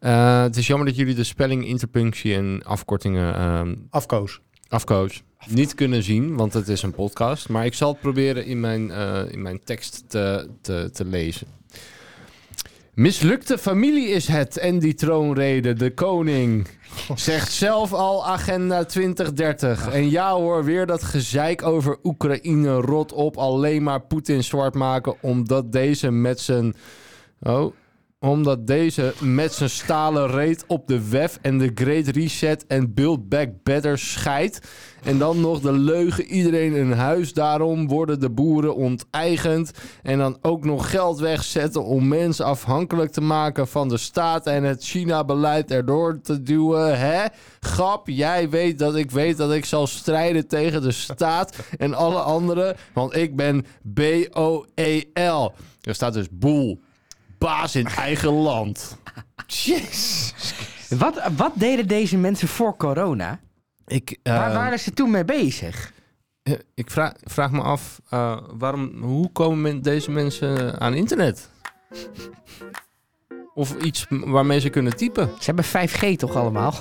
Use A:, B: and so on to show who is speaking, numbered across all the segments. A: Eh, het is jammer dat jullie de spelling, interpunctie en afkortingen ehm
B: Afkoos.
A: afcoach niet kunnen zien, want het is een podcast. Maar ik zal het proberen in mijn, eh, in mijn tekst te, te, te lezen. Mislukte familie is het en die troonrede, de koning. Zegt zelf al agenda 2030. En ja hoor, weer dat gezeik over Oekraïne rot op. Alleen maar Poetin zwart maken omdat deze met zijn... Oh, omdat deze met zijn stalen reet op de WEF en de Great Reset en Build Back Better scheidt. En dan nog de leugen iedereen een huis. Daarom worden de boeren onteigend. En dan ook nog geld wegzetten om mensen afhankelijk te maken van de staat en het China-beleid erdoor te duwen. Hè? Grap, jij weet dat ik weet dat ik zal strijden tegen de staat en alle anderen. Want ik ben B-O-E-L. Er staat dus boel baas in eigen land.
C: Wat, wat deden deze mensen voor corona?
A: Ik, eh,
C: Waar
B: Ehm.
C: waren ze toen mee bezig?
A: ik vraag, vraag me af, eh, waarom, hoe komen men- deze mensen aan internet? Of iets m- waarmee ze kunnen typen.
C: Ze hebben 5G toch allemaal?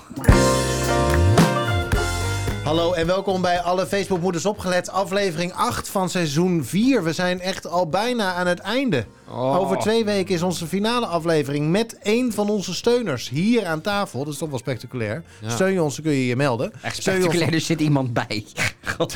B: Hallo en welkom bij alle Facebookmoeders opgelet. Aflevering 8 van seizoen 4. We zijn echt al bijna aan het einde.
C: Oh.
B: Over twee weken is onze finale aflevering met één van onze steuners hier aan tafel. Dat is toch wel spectaculair.
A: Ja.
B: Steun je ons, dan kun je je melden.
C: Echt
B: Steun je ons-
C: spectaculair, er zit iemand bij. God.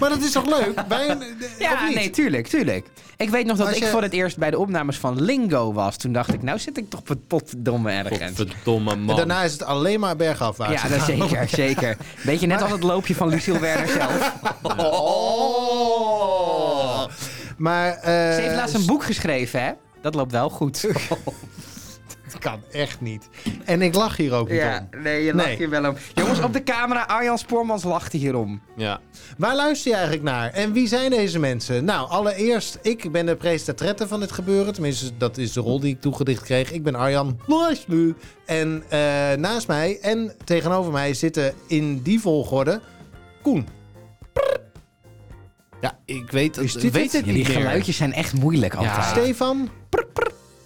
B: Maar dat is toch leuk? Wij, eh,
C: Ja,
B: of niet?
C: nee, tuurlijk, tuurlijk. Ik weet nog dat
B: Als
C: ik
B: je-
C: voor het eerst bij de opnames van Lingo was. Toen dacht ik, nou zit ik toch op het potdomme ergens.
A: Godverdomme
B: En
A: man.
B: daarna is het alleen maar bergafwaarts.
C: Ja, dat zeker, zeker. Beetje net als het loopje van Lucille Werner zelf.
B: Oh. Maar eh, Oh,
C: Ze heeft laatst een boek geschreven, hè? Dat loopt wel goed.
B: het kan echt niet. En ik lach hier ook niet om.
C: Ja, nee, je lacht
B: Nee.
C: hier wel om. Jongens, op de camera, Arjan Spoormans lachte hierom.
A: Ja.
B: Waar luister je eigenlijk naar? En wie zijn deze mensen? Nou, allereerst, ik ben de presentatrette van dit gebeuren. Tenminste, dat is de rol die ik toegedicht kreeg. Ik ben Arjan Loislu. En eh, naast mij en tegenover mij zitten in die volgorde Koen.
A: ja, ik weet het,
B: Is dit
A: weet
B: het?
A: het
C: Die
A: niet meer.
C: geluidjes zijn echt moeilijk altijd.
B: Stefan.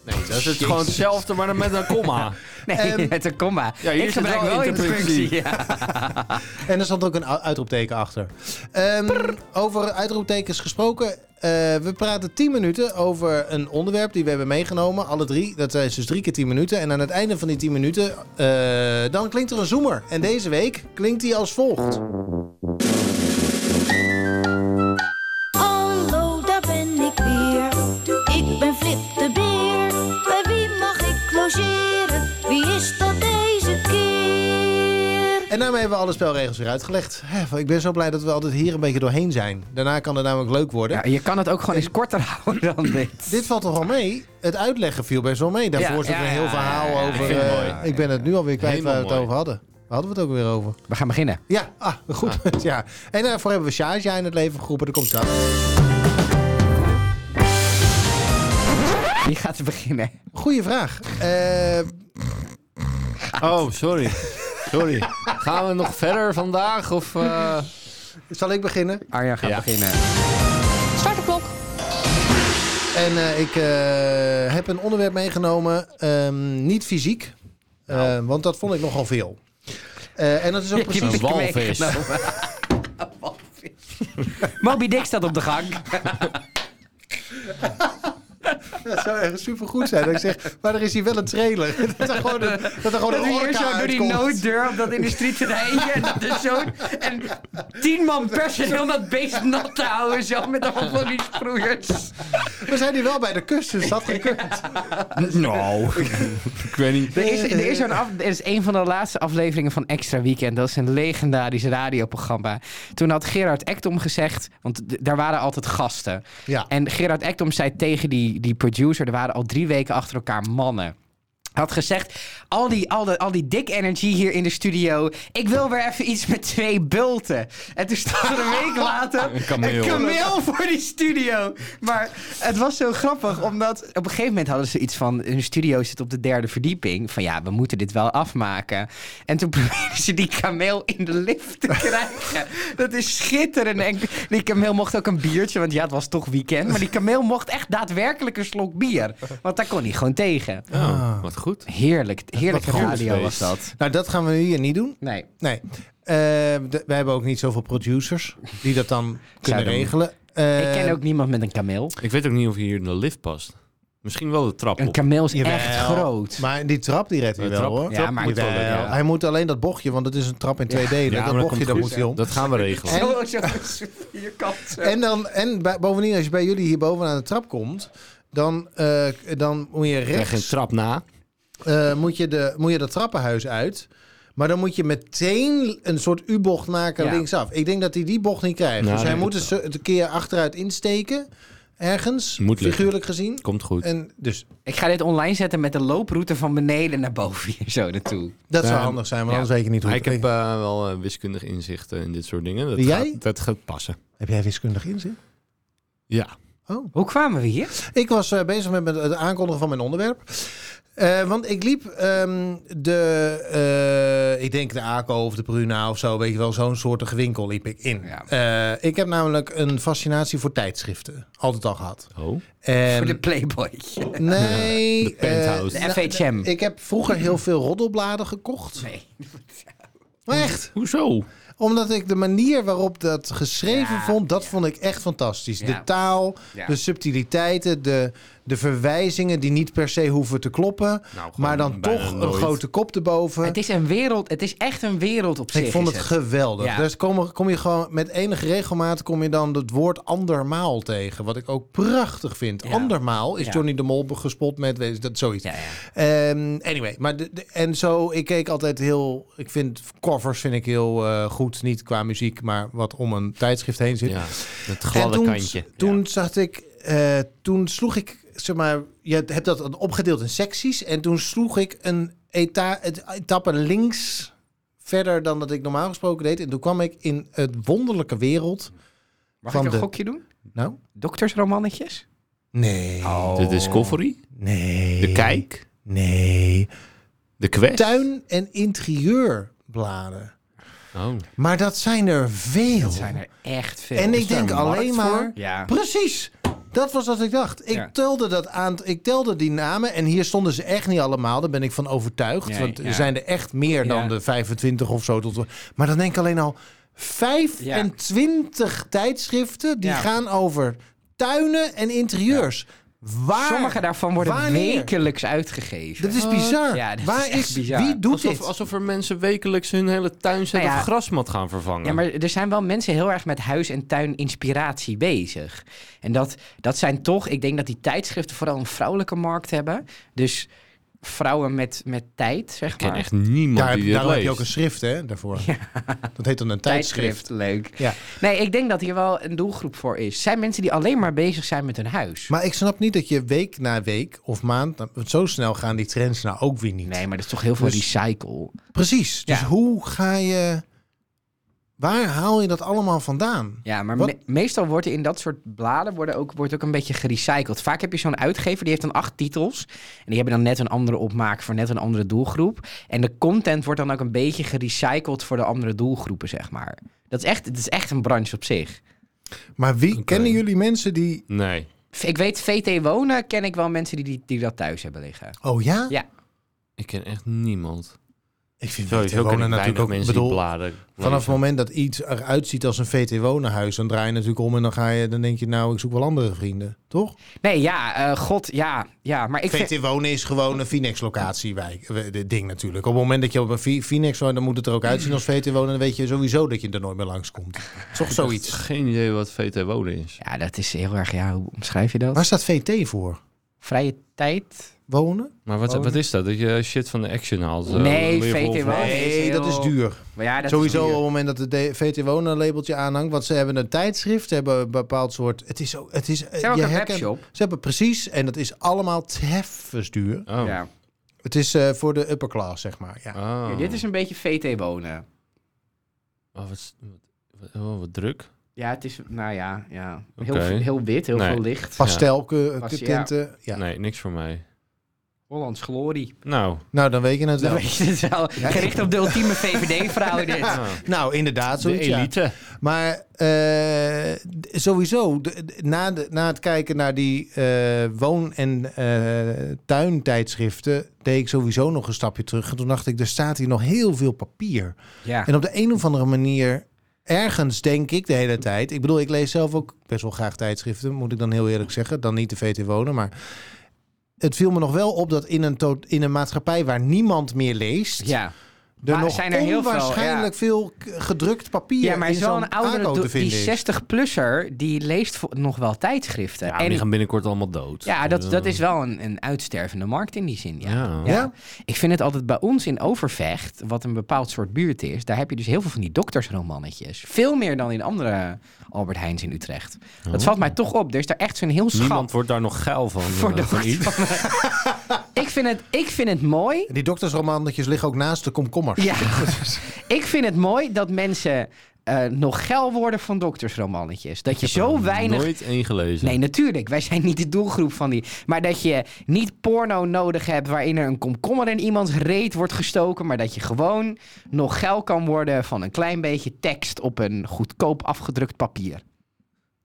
A: Nee, dat is het gewoon hetzelfde, maar dan met een komma.
C: Nee,
B: Ehm,
C: met een komma.
A: Ja, hier
C: ik
A: zit
C: gebruik
A: wel
C: wel
A: interpunctie.
C: interpunctie. Ja.
B: En er zat ook een u- uitroepteken achter. Ehm, over uitroeptekens gesproken. eh, we praten 10 minuten over een onderwerp die we hebben meegenomen. Alle drie. Dat is dus drie keer 10 minuten. En aan het einde van die 10 minuten. eh, dan klinkt er een zoemer. En deze week klinkt die als volgt:
D: Hallo, daar ben ik weer. Ik ben Flip de Beer. Bij wie mag ik logeren? Wie is dat deze keer?
B: En daarmee hebben we alle spelregels weer uitgelegd. Hè, ik ben zo blij dat we altijd hier een beetje doorheen zijn. Daarna kan het namelijk leuk worden.
C: Ja, je kan het ook gewoon eens korter houden dan dit.
B: Dit valt toch wel mee? Het uitleggen viel best wel mee. Daarvoor
C: Ja,
B: zit er
C: ja,
B: een heel
C: ja,
B: verhaal
C: ja, ja, ja.
B: over.
A: Ik vind het
B: eh,
A: mooi.
B: ik ben het nu alweer kwijt
A: Helemaal
B: waar we het
A: mooi.
B: over hadden. Waar hadden we het ook weer over?
C: We gaan beginnen.
B: Ja, ah, goed. Ja. En daarvoor hebben we Sjaja in het leven geroepen. Daar komt dat.
C: Wie gaat er beginnen?
B: Goeie vraag. Eh,
A: Oh, sorry. Sorry. Gaan we nog verder vandaag? Of, eh,
B: zal ik beginnen?
C: Arjan gaat
A: Ja.
C: beginnen.
D: Start de klok.
B: En eh, ik eh, heb een onderwerp meegenomen. ehm, niet fysiek. Eh,
C: Nou.
B: want dat vond ik nogal veel. Eh, en dat is ook
C: Je
B: precies...
C: hebt
A: Een
C: hem
A: walvis.
C: meegenomen. Een walvis. Moby Dick staat op de gang.
B: Dat zou echt supergoed zijn. Dat ik zeg, maar er is hier wel een trailer. dat er gewoon een, dat er gewoon
C: Dat
B: een
C: hier
B: orka
C: zo door die
B: uitkomt.
C: nooddeur op dat industrieterreintje. En dat is zo. En tien man personeel dat beest nat te houden. Zo met allemaal van die sproeiers.
B: We zijn hier wel bij de kust, dus dat gekund.
A: nou, ik weet niet.
C: Er is, er, is zo'n af, er is een van de laatste afleveringen van Extra Weekend. Dat is een legendarisch radioprogramma. Toen had Gerard Ekdom gezegd... Want d- daar waren altijd gasten.
B: Ja.
C: En Gerard Ekdom zei tegen die, die producer... Er waren al drie weken achter elkaar mannen. Had gezegd, al die, al, de, al die dik energy hier in de studio. Ik wil weer even iets met twee bulten. En toen stond er een week later
A: Een kameel.
C: een kameel voor die studio. Maar het was zo grappig, omdat op een gegeven moment hadden ze iets van... hun studio zit op de derde verdieping. Van ja, we moeten dit wel afmaken. En toen probeerden ze die kameel in de lift te krijgen. Dat is schitterend. En die kameel mocht ook een biertje, want ja, het was toch weekend. Maar die kameel mocht echt daadwerkelijk een slok bier. Want daar kon hij gewoon tegen.
A: Oh, wat
E: goed.
C: Heerlijk, heerlijke
B: goed
C: radio was
E: geweest.
C: dat.
B: Nou, dat gaan we hier niet doen.
C: Nee,
B: Nee. we hebben ook niet zoveel producers die dat dan kunnen
C: doen.
B: regelen. Eh,
C: ik ken ook niemand met een kameel.
E: Ik weet ook niet of hier in de lift past. Misschien wel de trap
C: Een
E: op.
C: kameel is
B: Jawel.
C: echt groot.
B: Maar die trap die redt hij
E: De
B: wel
E: trap-
B: hoor.
E: trap
C: Ja, maar
E: moet wel
B: Jawel.
E: lukken.
C: ja.
B: Hij moet alleen dat bochtje, want het is een trap in twee delen.
E: Ja, maar
B: dat
E: dat
B: bochtje,
E: komt
B: daar
E: goed.
B: moet hij om.
E: Dat gaan we regelen.
B: En-
C: Zo, zo, zo, vierkant. zo.
B: En, dan, en bij- bovendien, als je bij jullie hier bovenaan de trap komt, dan, eh, dan moet je
E: Krijg je een
B: rechts
E: trap na.
B: eh, moet, je de, moet je dat trappenhuis uit. Maar dan moet je meteen een soort U-bocht maken
C: Ja.
B: linksaf. Ik denk dat hij die bocht niet krijgt.
E: Nou,
B: dus hij
E: dat
B: moet een zo- een keer achteruit insteken. Ergens,
E: Moet lukken.
B: figuurlijk gezien.
E: Komt goed.
B: En dus
C: Ik ga dit online zetten met de looproute van beneden naar boven hier zo naartoe.
B: dat zou
E: Ehm,
B: handig zijn, want
C: ja.
B: anders weet je niet hoe
E: Maar
B: het
E: ik heb eh, wel eh, wiskundig inzicht eh, in dit soort dingen. Dat
B: Jij?
E: Gaat, dat gaat passen.
B: Heb jij wiskundig inzicht?
E: Ja.
B: Oh.
C: Hoe kwamen we hier?
B: Ik was eh, bezig met het aankondigen van mijn onderwerp. Eh, want ik liep ehm, de, eh, ik denk de ACO of de Bruna of zo, weet je wel, zo'n soort winkel liep ik in.
C: Ja.
B: Eh, ik heb namelijk een fascinatie voor tijdschriften, altijd al gehad.
E: Oh.
B: En-
C: Voor de Playboy.
B: nee,
E: De
B: eh, nou,
E: penthouse.
C: De FHM.
B: ik heb vroeger heel veel roddelbladen gekocht.
C: Nee.
B: Maar echt,
E: Hoezo?
B: omdat ik de manier waarop dat geschreven
C: Ja,
B: vond, dat vond ik echt fantastisch.
C: Ja.
B: De taal,
C: Ja.
B: de subtiliteiten, de, de verwijzingen die niet per se hoeven te kloppen.
E: Nou, gewoon
B: Maar dan
E: bijna
B: toch een
E: nooit.
B: grote kop erboven.
C: Het is een wereld, het is echt een wereld op zich.
B: Ik vond
C: is
B: het geweldig.
C: Ja.
B: Dus kom, kom je gewoon met enige regelmaat kom je dan het woord andermaal tegen. Wat ik ook prachtig vind.
C: Ja.
B: Andermaal is
C: Ja.
B: Johnny de Mol gespot met weet je, dat, zoiets.
C: Ja, ja.
B: Ehm, anyway, maar de, de- en zo, ik keek altijd heel. Ik vind covers vind ik heel eh, goed. Niet qua muziek, maar wat om een tijdschrift heen zit.
E: Ja, het
B: En
E: gladde
B: toen,
E: kantje.
B: Toen zag ik, eh, toen sloeg ik, zeg maar, je hebt dat dan opgedeeld in secties. En toen sloeg ik een eta het- etappe links verder dan dat ik normaal gesproken deed. En toen kwam ik in het wonderlijke wereld.
C: Mag
B: van
C: ik een
B: de-
C: gokje doen?
B: Nou? Oh.
C: Doktersromannetjes?
B: Nee.
E: De
C: Oh.
E: Discovery,
B: Nee.
E: Oh. de Kijk,
B: Nee.
E: de Quest.
B: Tuin- en interieurbladen.
E: Oh.
B: Maar dat zijn er veel.
C: Dat zijn er echt veel.
B: En
C: Is
B: ik
C: daar
B: denk
C: een markt
B: alleen
C: voor?
B: maar-
C: Ja.
B: Precies. Dat was wat ik dacht. Ik
C: Ja.
B: telde dat aan. Ik telde die namen. En hier stonden ze echt niet allemaal. Daar ben ik van overtuigd.
C: Nee,
B: want er
C: ja.
B: zijn er echt meer dan
C: Ja.
B: de 25 of zo. Tot, maar dan denk ik alleen al 25 tijdschriften. Die
C: Ja.
B: gaan over tuinen en interieurs. Waar?
C: Sommige daarvan worden
B: Wanneer?
C: wekelijks uitgegeven.
B: Dat is bizar.
C: Ja, dat
B: Waar
C: is echt bizar.
B: Wie doet
E: Alsof,
B: dit?
E: alsof er mensen wekelijks hun hele tuin
C: Nou
E: zetten
C: ja.
E: of grasmat gaan vervangen.
C: Ja, maar er zijn wel mensen heel erg met huis- en tuininspiratie bezig. En dat, dat zijn toch, ik denk dat die tijdschriften vooral een vrouwelijke markt hebben. Dus vrouwen met, met tijd, zeg
E: Ik ken
C: maar.
E: echt niemand
B: Daar,
E: die dit
B: daarom heb je
E: leest.
B: ook een schrift hè, daarvoor. Dat heet dan een tijdschrift.
C: leuk.
B: Ja.
C: Nee, ik denk dat hier wel een doelgroep voor is. Het Zijn mensen die alleen maar bezig zijn met hun huis?
B: Maar ik snap niet dat je week na week of maand... nou, want zo snel gaan die trends nou ook weer niet.
C: nee, maar dat is toch heel veel
B: Dus-
C: recycle.
B: Precies. Dus
C: Ja.
B: hoe ga je... Waar haal je dat allemaal vandaan?
C: Ja, maar
B: Wat-
C: me- meestal wordt er in dat soort bladen worden ook, wordt ook een beetje gerecycled. Vaak heb je zo'n uitgever, die heeft dan acht titels. En die hebben dan net een andere opmaak voor net een andere doelgroep. En de content wordt dan ook een beetje gerecycled voor de andere doelgroepen, zeg maar. Dat is echt, het is echt een branche op zich.
B: Maar wie
E: Oké.
B: kennen jullie mensen die...
E: Nee.
C: V- Ik weet, VT Wonen ken ik wel mensen die, die, die dat thuis hebben liggen.
B: Oh ja?
C: Ja.
E: Ik ken echt niemand.
B: Ik vind
E: Sowieso ken ik
B: VT-wonen natuurlijk
E: weinig
B: ook...
E: mensen die
B: Bedoel,
E: bladen
B: vanaf het
E: lezen.
B: moment dat iets eruit ziet als een VT-wonenhuis... dan draai je natuurlijk om en dan, ga je, dan denk je... nou, ik zoek wel andere vrienden, toch?
C: Nee, ja, eh, god, ja, ja. Maar ik vind...
B: VT-wonen is gewoon een Finex-locatiewijk. eh, dit ding natuurlijk. Op het moment dat je op een Fi- Finex woont... dan moet het er ook uitzien als VT-wonen. Dan weet je sowieso dat je er nooit meer langskomt. Toch zoiets.
E: Geen idee wat VT Wonen is.
C: Ja, dat is heel erg, ja, hoe omschrijf je dat?
B: Waar staat VT voor?
C: Vrije tijd?
B: Wonen?
E: Maar wat, wat is dat? Dat je shit van de action haalt? eh,
C: Nee,
E: leer
C: VT
E: volgen.
C: Wonen.
B: Nee, dat is duur.
C: Maar ja, dat
B: Sowieso
C: is
B: op
C: duur.
B: het moment dat het de VT Wonen labeltje aanhangt. Want ze hebben een tijdschrift, ze hebben een bepaald soort... Het is ook... Het is,
C: Ze hebben ook een
B: herkent-
C: webshop.
B: Ze hebben precies, en dat is allemaal treffers duur.
E: Oh.
C: Ja.
B: Het is eh, voor de upper class, zeg maar. Ja.
E: Oh.
C: Ja, dit is een beetje VT wonen.
E: Oh, wat, wat- oh, wat druk.
C: Ja, het is, nou ja, ja. Heel,
E: Oké.
C: heel wit, heel
E: Nee.
C: veel licht.
B: Pastel eh,
C: Pas- ja.
B: tinten. Ja.
E: Nee, niks voor mij.
C: Hollands glorie.
E: Nou,
B: Nou, dan weet je het
C: Dan
B: wel.
C: weet je het wel. Gericht op de ultieme VVD-vrouw dit.
B: Nou,
E: de
B: inderdaad, zoiets, ja.
E: elite.
B: Maar eh, d- sowieso, de- de- na, de- na het kijken naar die eh, woon- en eh, tuintijdschriften... deed ik sowieso nog een stapje terug. En toen dacht ik, er staat hier nog heel veel papier.
C: Ja.
B: En op de een of andere manier, ergens denk ik de hele tijd. Ik bedoel, ik lees zelf ook best wel graag tijdschriften, moet ik dan heel eerlijk zeggen. Dan niet de VT Wonen, maar. Het viel me nog wel op dat in een, to- in een maatschappij waar niemand meer leest,
C: ja.
B: er
C: maar
B: nog
C: zijn er heel veel,
B: onwaarschijnlijk veel, k- gedrukt papier
C: Ja, maar
B: in zo'n
C: zo'n oudere,
B: aankoop
C: do-
B: te
C: die
B: vinden is.
C: 60-plusser, die leest vo- nog wel tijdschriften.
E: Ja, maar
C: en
E: die gaan binnenkort allemaal dood.
C: ja dat, dat is wel een, een uitstervende markt in die zin. Ja.
E: Ja.
B: Ja?
C: Ik vind het altijd bij ons in Overvecht, wat een bepaald soort buurt is, daar heb je dus heel veel van die doktersromannetjes. Veel meer dan in andere Albert Heijns in Utrecht. Dat valt mij toch op. Er is daar echt zo'n heel schat
E: Oh. Niemand wordt daar nog geil van.
C: voor
E: eh,
C: de
E: van iets.
C: ik, vind het, ik vind het mooi
B: Die doktersromannetjes liggen ook naast de komkommers.
C: Ja, ik vind het mooi dat mensen eh, nog geil worden van doktersromannetjes. Dat je zo weinig.
E: Nooit één gelezen.
C: Nee, natuurlijk. Wij zijn niet de doelgroep van die. Maar dat je niet porno nodig hebt waarin er een komkommer in iemands reet wordt gestoken. Maar dat je gewoon nog geil kan worden van een klein beetje tekst op een goedkoop afgedrukt papier.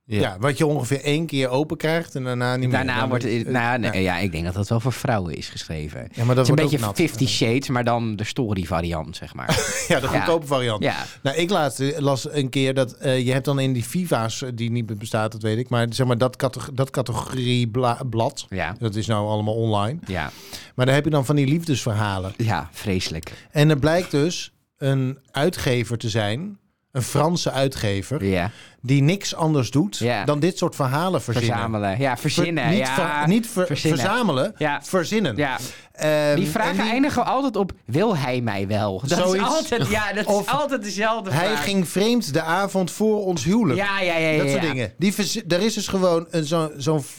E: Ja.
B: Ja. wat je ongeveer één keer open krijgt en daarna niet meer.
C: Daarna
B: Dan-
C: wordt het.
B: eh,
C: Nou, nee,
B: ja.
C: ja, ik denk dat dat wel voor vrouwen is geschreven. Het
B: Ja, maar dat
C: is een
B: wordt
C: beetje
B: ook nat.
C: 50 Shades, maar dan de story variant, zeg maar.
B: Ja, de goedkope variant.
C: ja.
B: Nou, ik laatst eh, las een keer dat eh, je hebt dan in die Viva's, eh, die niet meer bestaat, dat weet ik, maar zeg maar dat, cate- dat categorie bla- blad,
C: Ja.
B: dat is nou allemaal online,
C: Ja.
B: maar daar heb je dan van die liefdesverhalen.
C: Ja, vreselijk.
B: En er blijkt dus een uitgever te zijn, een Franse uitgever,
C: Ja.
B: die niks anders doet
C: Ja.
B: dan dit soort verhalen verzinnen.
C: Verzamelen. Ja,
B: Ver-
C: verzinnen.
B: niet
C: ja,
B: ver- niet ver-
C: verzinnen.
B: verzamelen,
C: Ja.
B: verzinnen.
C: Ja.
B: Ehm,
C: Die vragen
B: en die-
C: eindigen altijd op: wil hij mij wel? Dat is
B: Zoiets.
C: altijd, ja, dat
B: Of
C: is altijd dezelfde vraag.
B: Hij ging vreemd de avond voor ons huwelijk.
C: Ja, ja, ja. ja,
B: Dat soort
C: ja.
B: dingen. Die vers- er is dus gewoon een zo- zo'n v-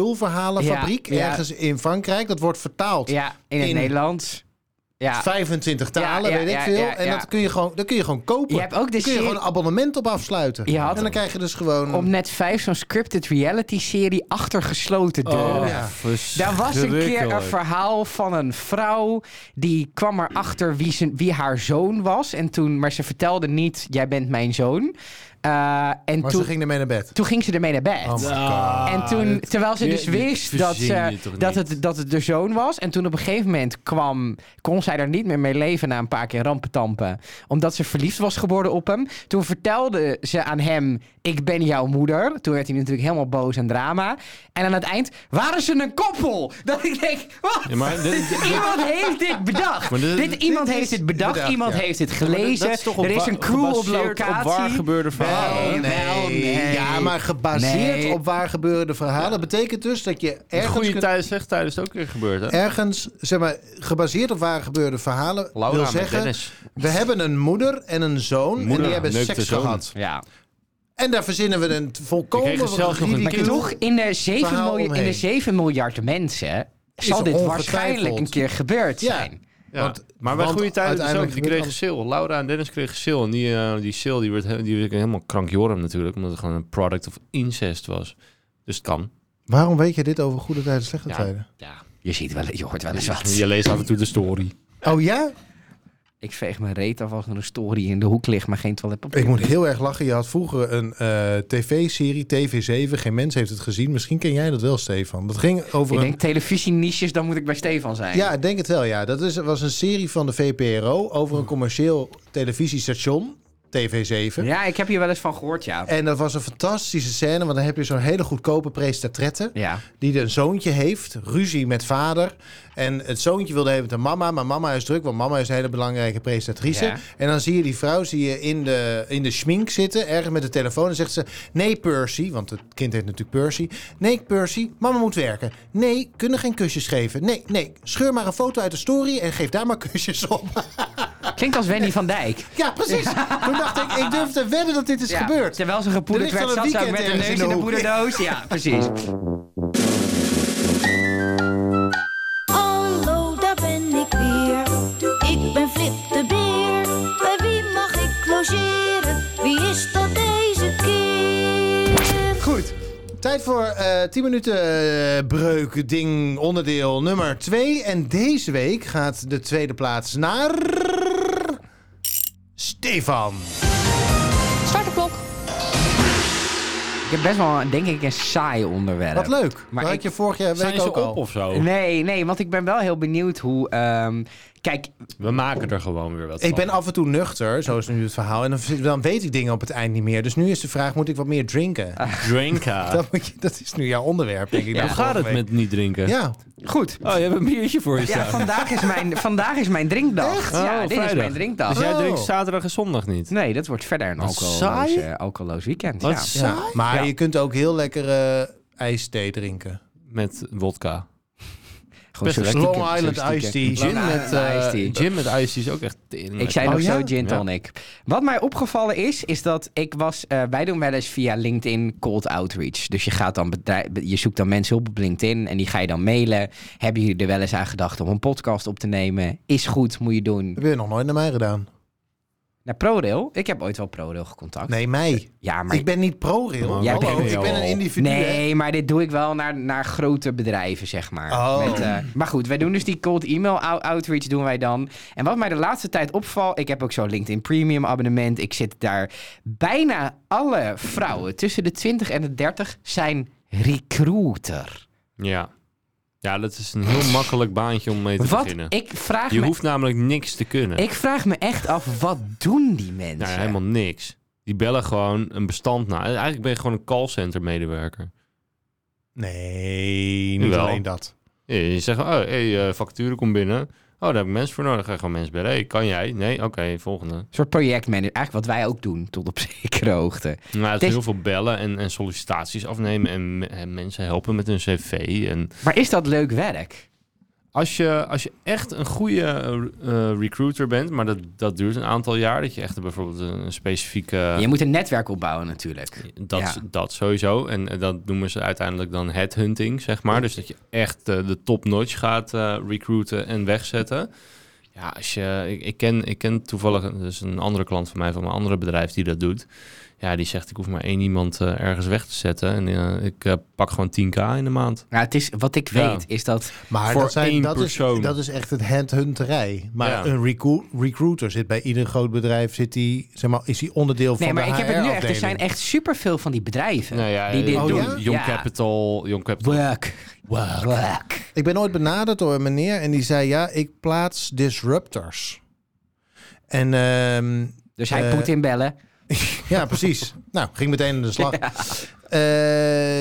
B: flauwekulverhalenfabriek
C: Ja, ja.
B: ergens in Frankrijk. Dat wordt vertaald.
C: Ja, in het
B: In-
C: Nederlands. Ja.
B: 25 talen,
C: Ja, ja,
B: weet ik
C: ja,
B: veel.
C: ja,
B: En
C: ja.
B: dat kun je gewoon, dat kun je gewoon kopen.
C: Je hebt ook de
B: Daar kun je
C: serie-
B: gewoon een abonnement op afsluiten.
C: Je had-
B: en dan krijg je dus gewoon...
C: Op net 5 zo'n scripted reality serie achter gesloten deuren.
E: Oh,
B: Ja.
C: Daar was een keer een
E: verschrikkelijk.
C: verhaal van een vrouw. Die kwam erachter wie, zijn, wie haar zoon was. En toen, maar ze vertelde niet: jij bent mijn zoon. Eh, en
B: maar
C: toen,
B: ze ging ermee naar bed.
C: toen ging ze ermee naar bed.
B: Oh my god.
E: Ah,
C: En toen,
E: dat-
C: terwijl ze
E: je-
C: dus
E: dit
C: wist dat,
E: verzin je
C: ze,
E: toch
C: dat,
E: niet?
C: het, dat het de zoon was. En toen op een gegeven moment kwam, kon zij er niet meer mee leven na een paar keer rampentampen. Omdat ze verliefd was geworden op hem. Toen vertelde ze aan hem, ik ben jouw moeder. Toen werd hij natuurlijk helemaal boos en drama. En aan het eind waren ze een koppel. Dat ik denk, wat?
E: Ja, maar dit- dit-
C: iemand heeft dit bedacht.
E: Maar
C: Dit,
E: dit-
C: iemand
B: dit
C: heeft
B: is
C: dit bedacht.
B: bedacht,
C: iemand
B: ja.
C: heeft dit
E: Ja, maar dat-
C: gelezen.
E: dat is toch op
C: er is
E: wa-
C: een crew op
E: gebaseerd
C: locatie.
E: Op waar gebeurde verhalen.
C: Nee, wel, nee.
B: Ja, maar gebaseerd
C: Nee.
B: op waar gebeurde verhalen. Dat betekent dus dat je
E: Het
B: ergens...
E: goede
B: kunt-
E: tijd zegt tijdens het ook weer gebeurd, hè?
B: ergens, zeg maar, gebaseerd op waar gebeurde verhalen,
E: Laura
B: wil
E: met
B: zeggen...
E: Dennis.
B: We hebben een moeder en een zoon en
E: Moeder
B: die hebben
E: neukt de
B: seks
E: zoon.
B: gehad.
C: Ja.
B: En daar verzinnen we een
E: Ik
B: volkomen
E: kreeg er zelfs nog een
B: ridicule-
C: Maar toch, in de 7,
B: verhaal
C: miljoen- in de
B: omheen.
C: 7 miljard mensen zal
B: er
C: dit
B: ongetwijfeld.
C: waarschijnlijk een keer gebeurd
B: Ja.
C: zijn.
E: Ja,
B: Want-
E: maar bij
B: want
E: goede tijden dus ook,
B: uiteindelijk
E: die
B: gebeurt
E: kregen sale. Laura en Dennis kregen sale. En die, eh, die sale die werd, he- die werd helemaal krankjorum natuurlijk. Omdat het gewoon een product of incest was. Dus het kan.
B: Waarom weet je dit over goede tijden en slechte
E: Ja.
B: tijden?
C: Ja. Je, ziet wel, je hoort wel eens wat.
E: Je leest af en toe de story.
B: Oh ja?
C: Ik veeg mijn reet af als er een story in de hoek ligt, maar geen toiletpapier.
B: Ik moet heel erg lachen. Je had vroeger een eh, tv-serie, TV7. Geen mens heeft het gezien. Misschien ken jij dat wel, Stefan. Dat ging over
C: Ik
B: een...
C: denk televisie-niches, dan moet ik bij Stefan zijn.
B: Ja, ik denk het wel, ja. Dat is, was een serie van de VPRO over een commercieel televisiestation, TV7.
C: ja, ik heb hier wel eens van gehoord, ja.
B: En dat was een fantastische scène, want dan heb je zo'n hele goedkope prestatrette.
C: Ja.
B: Die een zoontje heeft, ruzie met vader. En het zoontje wilde even de mama, maar mama is druk, want mama is een hele belangrijke presentatrice.
C: Ja.
B: En dan zie je die vrouw zie je in, de, in de schmink zitten, ergens met de telefoon. En zegt ze: Nee, Percy, want het kind heet natuurlijk Percy. Nee, Percy, mama moet werken. Nee, kunnen geen kusjes geven. Nee, nee, scheur maar een foto uit de story en geef daar maar kusjes op.
C: Klinkt als Wendy van Dijk.
B: ja, precies. Toen dacht ik: Ik durf te wedden dat dit is
C: Ja,
B: gebeurd.
C: Terwijl ze
B: Er
C: gepoederd
B: ligt
C: werd,
B: wel
C: zat
B: een
C: ze ook met
B: weekend
C: haar
B: ergens
C: neus in
B: in
C: de
B: de hoek.
C: poederdoos. Ja, precies.
D: Hallo, daar ben ik weer. Ik ben Flip de Beer. Bij wie mag ik logeren? Wie is dat deze keer?
B: Goed. Tijd voor eh 10 minuten eh, breuk, ding, onderdeel nummer 2. En deze week gaat de tweede plaats naar... Stefan.
F: Start de klok.
C: Ik heb best wel, denk ik, een saai onderwerp.
B: Wat leuk.
C: Maar
B: Maar had
C: ik-
B: je vorige
A: Zijn
B: week
A: ze
B: ook
A: op
B: al.
A: of zo?
C: Nee, nee, want ik ben wel heel benieuwd hoe... ehm, kijk,
A: We maken er gewoon weer wat
B: Ik
A: van.
B: ben af en toe nuchter, zo is nu het verhaal. En dan, dan weet ik dingen op het eind niet meer. Dus nu is de vraag, moet ik wat meer drinken?
A: Drinken.
B: Dat, moet je, dat is nu jouw onderwerp, denk ik.
A: Ah. Hoe
B: dan
A: gaat het
B: volgende
A: met niet drinken?
B: week. Ja,
C: goed.
A: Oh, je hebt een biertje voor je
C: Ja,
A: staan.
C: vandaag is mijn, vandaag is mijn drinkdag. Ja,
A: Oh,
C: dit is
A: vrijdag.
C: mijn drinkdag.
A: Dus jij
B: Oh.
A: drinkt zaterdag en zondag niet?
C: Nee, dat wordt verder een
A: Wat
C: alcoholloos,
A: saai.
C: eh, alcoholloos weekend.
A: Wat
C: ja.
A: saai.
B: ja. maar
C: Ja.
B: je kunt ook heel lekker eh, ijsthee drinken.
A: Met wodka.
C: Gewoon zo
A: Best
C: stiekem,
B: Long
C: zo
B: Island
C: stiekem.
B: iced tea.
C: Lang
A: Gin met,
C: Island
A: eh
C: iced tea.
A: gin met ijs is ook echt tering.
C: Ik zei
B: Oh,
C: nog
B: ja?
C: zo gin
A: Ja.
C: tonic. Wat mij opgevallen is, is dat ik was... eh, wij doen wel eens via LinkedIn cold outreach. Dus je, gaat dan bedrij- je zoekt dan mensen op op LinkedIn en die ga je dan mailen. Hebben jullie er wel eens aan gedacht om een podcast op te nemen? Is goed, moet je doen.
B: Heb je nog nooit naar mij gedaan?
C: Naar ProRail. Ik heb ooit wel ProRail gecontact.
B: Nee, mij.
C: Ja, maar...
B: Ik ben niet pro-rail.
C: Jij
B: Hallo,
C: bent-
B: Oh, ik ben een individu. hè?
C: Nee, maar dit doe ik wel naar, naar grote bedrijven, zeg maar.
B: Oh.
C: Met, eh, maar goed, wij doen dus die cold email ou- outreach doen wij dan. En wat mij de laatste tijd opvalt, ik heb ook zo'n LinkedIn Premium abonnement. Ik zit daar. Bijna alle vrouwen tussen de 20 en de 30 zijn recruiter.
A: Ja. Ja, dat is een heel makkelijk baantje om mee te
C: Wat?
A: beginnen.
C: Ik vraag,
A: Je
C: me,
A: hoeft namelijk niks te kunnen.
C: ik vraag me echt af, wat doen die
A: Nou,
C: mensen?
A: ja, helemaal niks. Die bellen gewoon een bestand na. Eigenlijk ben je gewoon een callcenter medewerker.
B: Nee, niet
A: Jawel.
B: alleen dat.
A: Je zegt, oh, hey, eh facturen komt binnen. Oh, daar heb ik mensen voor nodig. Ga je gewoon mensen bellen. Hey, kan jij? Nee? Oké, volgende.
C: Een soort projectmanager. Eigenlijk wat wij ook doen, tot op zekere hoogte.
A: Nou, het
C: Dit-
A: is heel veel bellen en, en sollicitaties afnemen en, me- en mensen helpen met hun cv. En
C: Maar is dat leuk werk?
A: als je, als je echt een goede eh, eh, recruiter bent, maar dat, dat duurt een aantal jaar, dat je echt bijvoorbeeld een, een specifieke...
C: Je moet een netwerk opbouwen natuurlijk.
A: Dat,
C: Ja.
A: dat sowieso. En eh, dat noemen ze uiteindelijk dan headhunting, zeg maar. Dus dat je echt eh, de top-notch gaat eh, recruiten en wegzetten. Ja, als je, ik, ik, ken, ik ken toevallig een- dus een andere klant van mij, van mijn andere bedrijf, die dat doet. Ja, die zegt, ik hoef maar één iemand eh, ergens weg te zetten. En eh, ik eh, pak gewoon 10k in de maand.
C: Nou, het is, wat ik
A: Ja.
C: weet is dat...
B: Maar
A: Voor
B: dat, zijn,
A: één
B: dat,
A: persoon.
B: Is, dat is echt het handhunterij. Maar
A: Ja.
B: een recru- recruiter zit bij ieder groot bedrijf, zit die, zeg maar, is die onderdeel
C: Nee,
B: van
C: maar
B: de
C: ik heb het nu echt. Er
B: HR-afdeling.
C: zijn echt superveel van die bedrijven
A: Nou ja,
C: die dit
A: eh,
B: Oh,
C: doen.
B: ja?
A: Young
C: Ja.
A: Capital, Young Capital.
C: Work. Work.
B: Ik ben ooit benaderd door een meneer en die zei, ja, ik plaats disruptors. En ehm,
C: Dus hij
B: Eh,
C: moet inbellen.
B: ja, precies. nou, ging meteen aan de slag. Eh,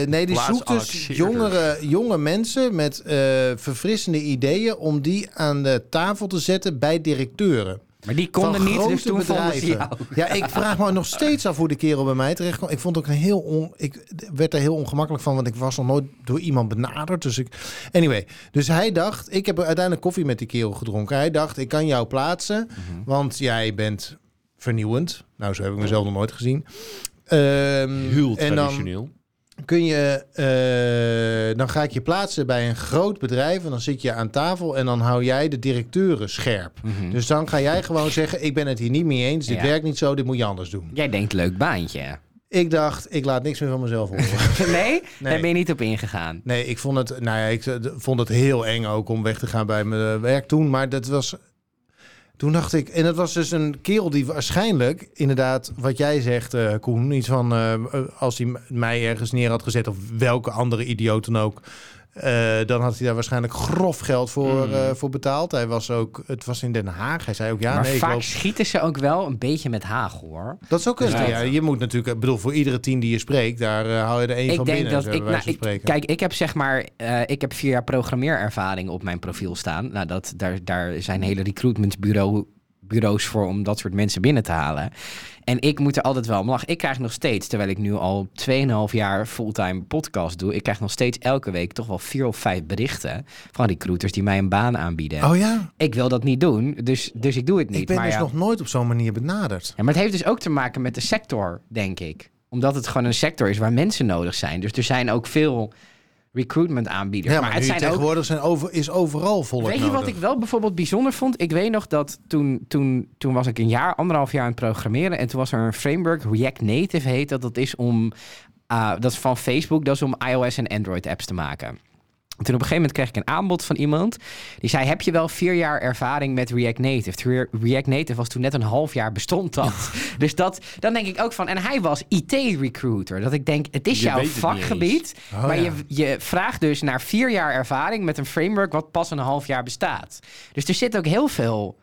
B: nee, die
A: Plaats
B: zoekt dus
A: annexeerders.
B: jongere, jonge mensen met eh, verfrissende ideeën om die aan de tafel te zetten bij directeuren.
C: Maar die
B: Van
C: konden niet, dus
B: grote
C: toen vonden ze jou.
B: Ja, ik vraag me nog steeds af hoe de kerel bij mij terecht kwam. Ik vond ook een heel on, ik werd er heel ongemakkelijk van, want ik was nog nooit door iemand benaderd. Dus ik, anyway, dus hij dacht, ik heb uiteindelijk koffie met die kerel gedronken. Hij dacht, ik kan jou plaatsen,
C: Mhm.
B: want jij bent vernieuwend. Nou, zo heb ik mezelf nog nooit gezien. Ehm,
A: Heel
B: en dan
A: traditioneel.
B: kun je, eh, dan ga ik je plaatsen bij een groot bedrijf en dan zit je aan tafel en dan hou jij de directeuren scherp.
C: Mhm.
B: Dus dan ga jij gewoon zeggen, ik ben het hier niet mee eens, dit
C: Ja.
B: werkt niet zo, dit moet je anders doen.
C: Jij denkt leuk baantje.
B: Ik dacht, ik laat niks meer van mezelf horen.
C: Nee? Daar ben je niet op ingegaan.
B: nee, ik vond het, nou ja, ik eh, d- vond het heel eng ook om weg te gaan bij mijn eh, werk toen, maar dat was... Toen dacht ik, en dat was dus een kerel die waarschijnlijk, inderdaad, wat jij zegt, eh, Koen, iets van eh, als hij m- mij ergens neer had gezet, of welke andere idioot dan ook, eh, dan had hij daar waarschijnlijk grof geld voor,
C: Hmm.
B: eh, voor betaald. Hij was ook, het was in Den Haag, hij zei ook, ja,
C: maar
B: nee, ik
C: vaak
B: loop-
C: schieten ze ook wel een beetje met hagel, hoor.
B: Dat zou kunnen.
A: Ja.
B: Ja, je moet natuurlijk, ik bedoel, voor iedere tien die je spreekt, daar eh, haal je er één
C: Ik
B: van
C: denk
B: binnen.
C: dat
B: zo
C: ik,
B: bij wijze
C: nou,
B: van
C: ik-
B: spreken.
C: kijk, ik heb zeg maar, eh, ik heb vier jaar programmeerervaring op mijn profiel staan. Nou, dat, daar, daar zijn hele recruitmentbureau bureaus voor om dat soort mensen binnen te halen. En ik moet er altijd wel om lachen. Ik krijg nog steeds, terwijl ik nu al 2,5 jaar fulltime podcast doe, ik krijg nog steeds elke week toch wel vier of vijf berichten van recruiters die mij een baan aanbieden.
B: Oh ja,
C: Ik wil dat niet doen, dus, dus ik doe het niet.
B: ik ben
C: maar
B: dus
C: ja.
B: nog nooit op zo'n manier benaderd.
C: Ja, maar het heeft dus ook te maken met de sector, denk ik. Omdat het gewoon een sector is waar mensen nodig zijn. Dus er zijn ook veel recruitment aanbieders.
B: Ja, maar,
C: het
B: nu
C: zijn ook.
B: tegenwoordig zijn over, is overal volk
C: Weet je
B: nodig.
C: wat ik wel bijvoorbeeld bijzonder vond? Ik weet nog dat toen, toen, toen was ik een jaar, anderhalf jaar aan het programmeren. En toen was er een framework, React Native heet dat. Dat is om Ah, dat is van Facebook. Dat is om iOS en Android apps te maken. Toen op een gegeven moment kreeg ik een aanbod van iemand. Die zei, heb je wel vier jaar ervaring met React Native? Terwijl React Native was toen net een half jaar bestond dat. dus dat, dan denk ik ook van... En hij was IT-recruiter. Dat ik denk, het is
A: Je
C: jouw
A: weet het niet
C: vakgebied.
B: Oh,
C: maar
B: ja.
C: je, je vraagt dus naar vier jaar ervaring met een framework... wat pas een half jaar bestaat. Dus er zit ook heel veel...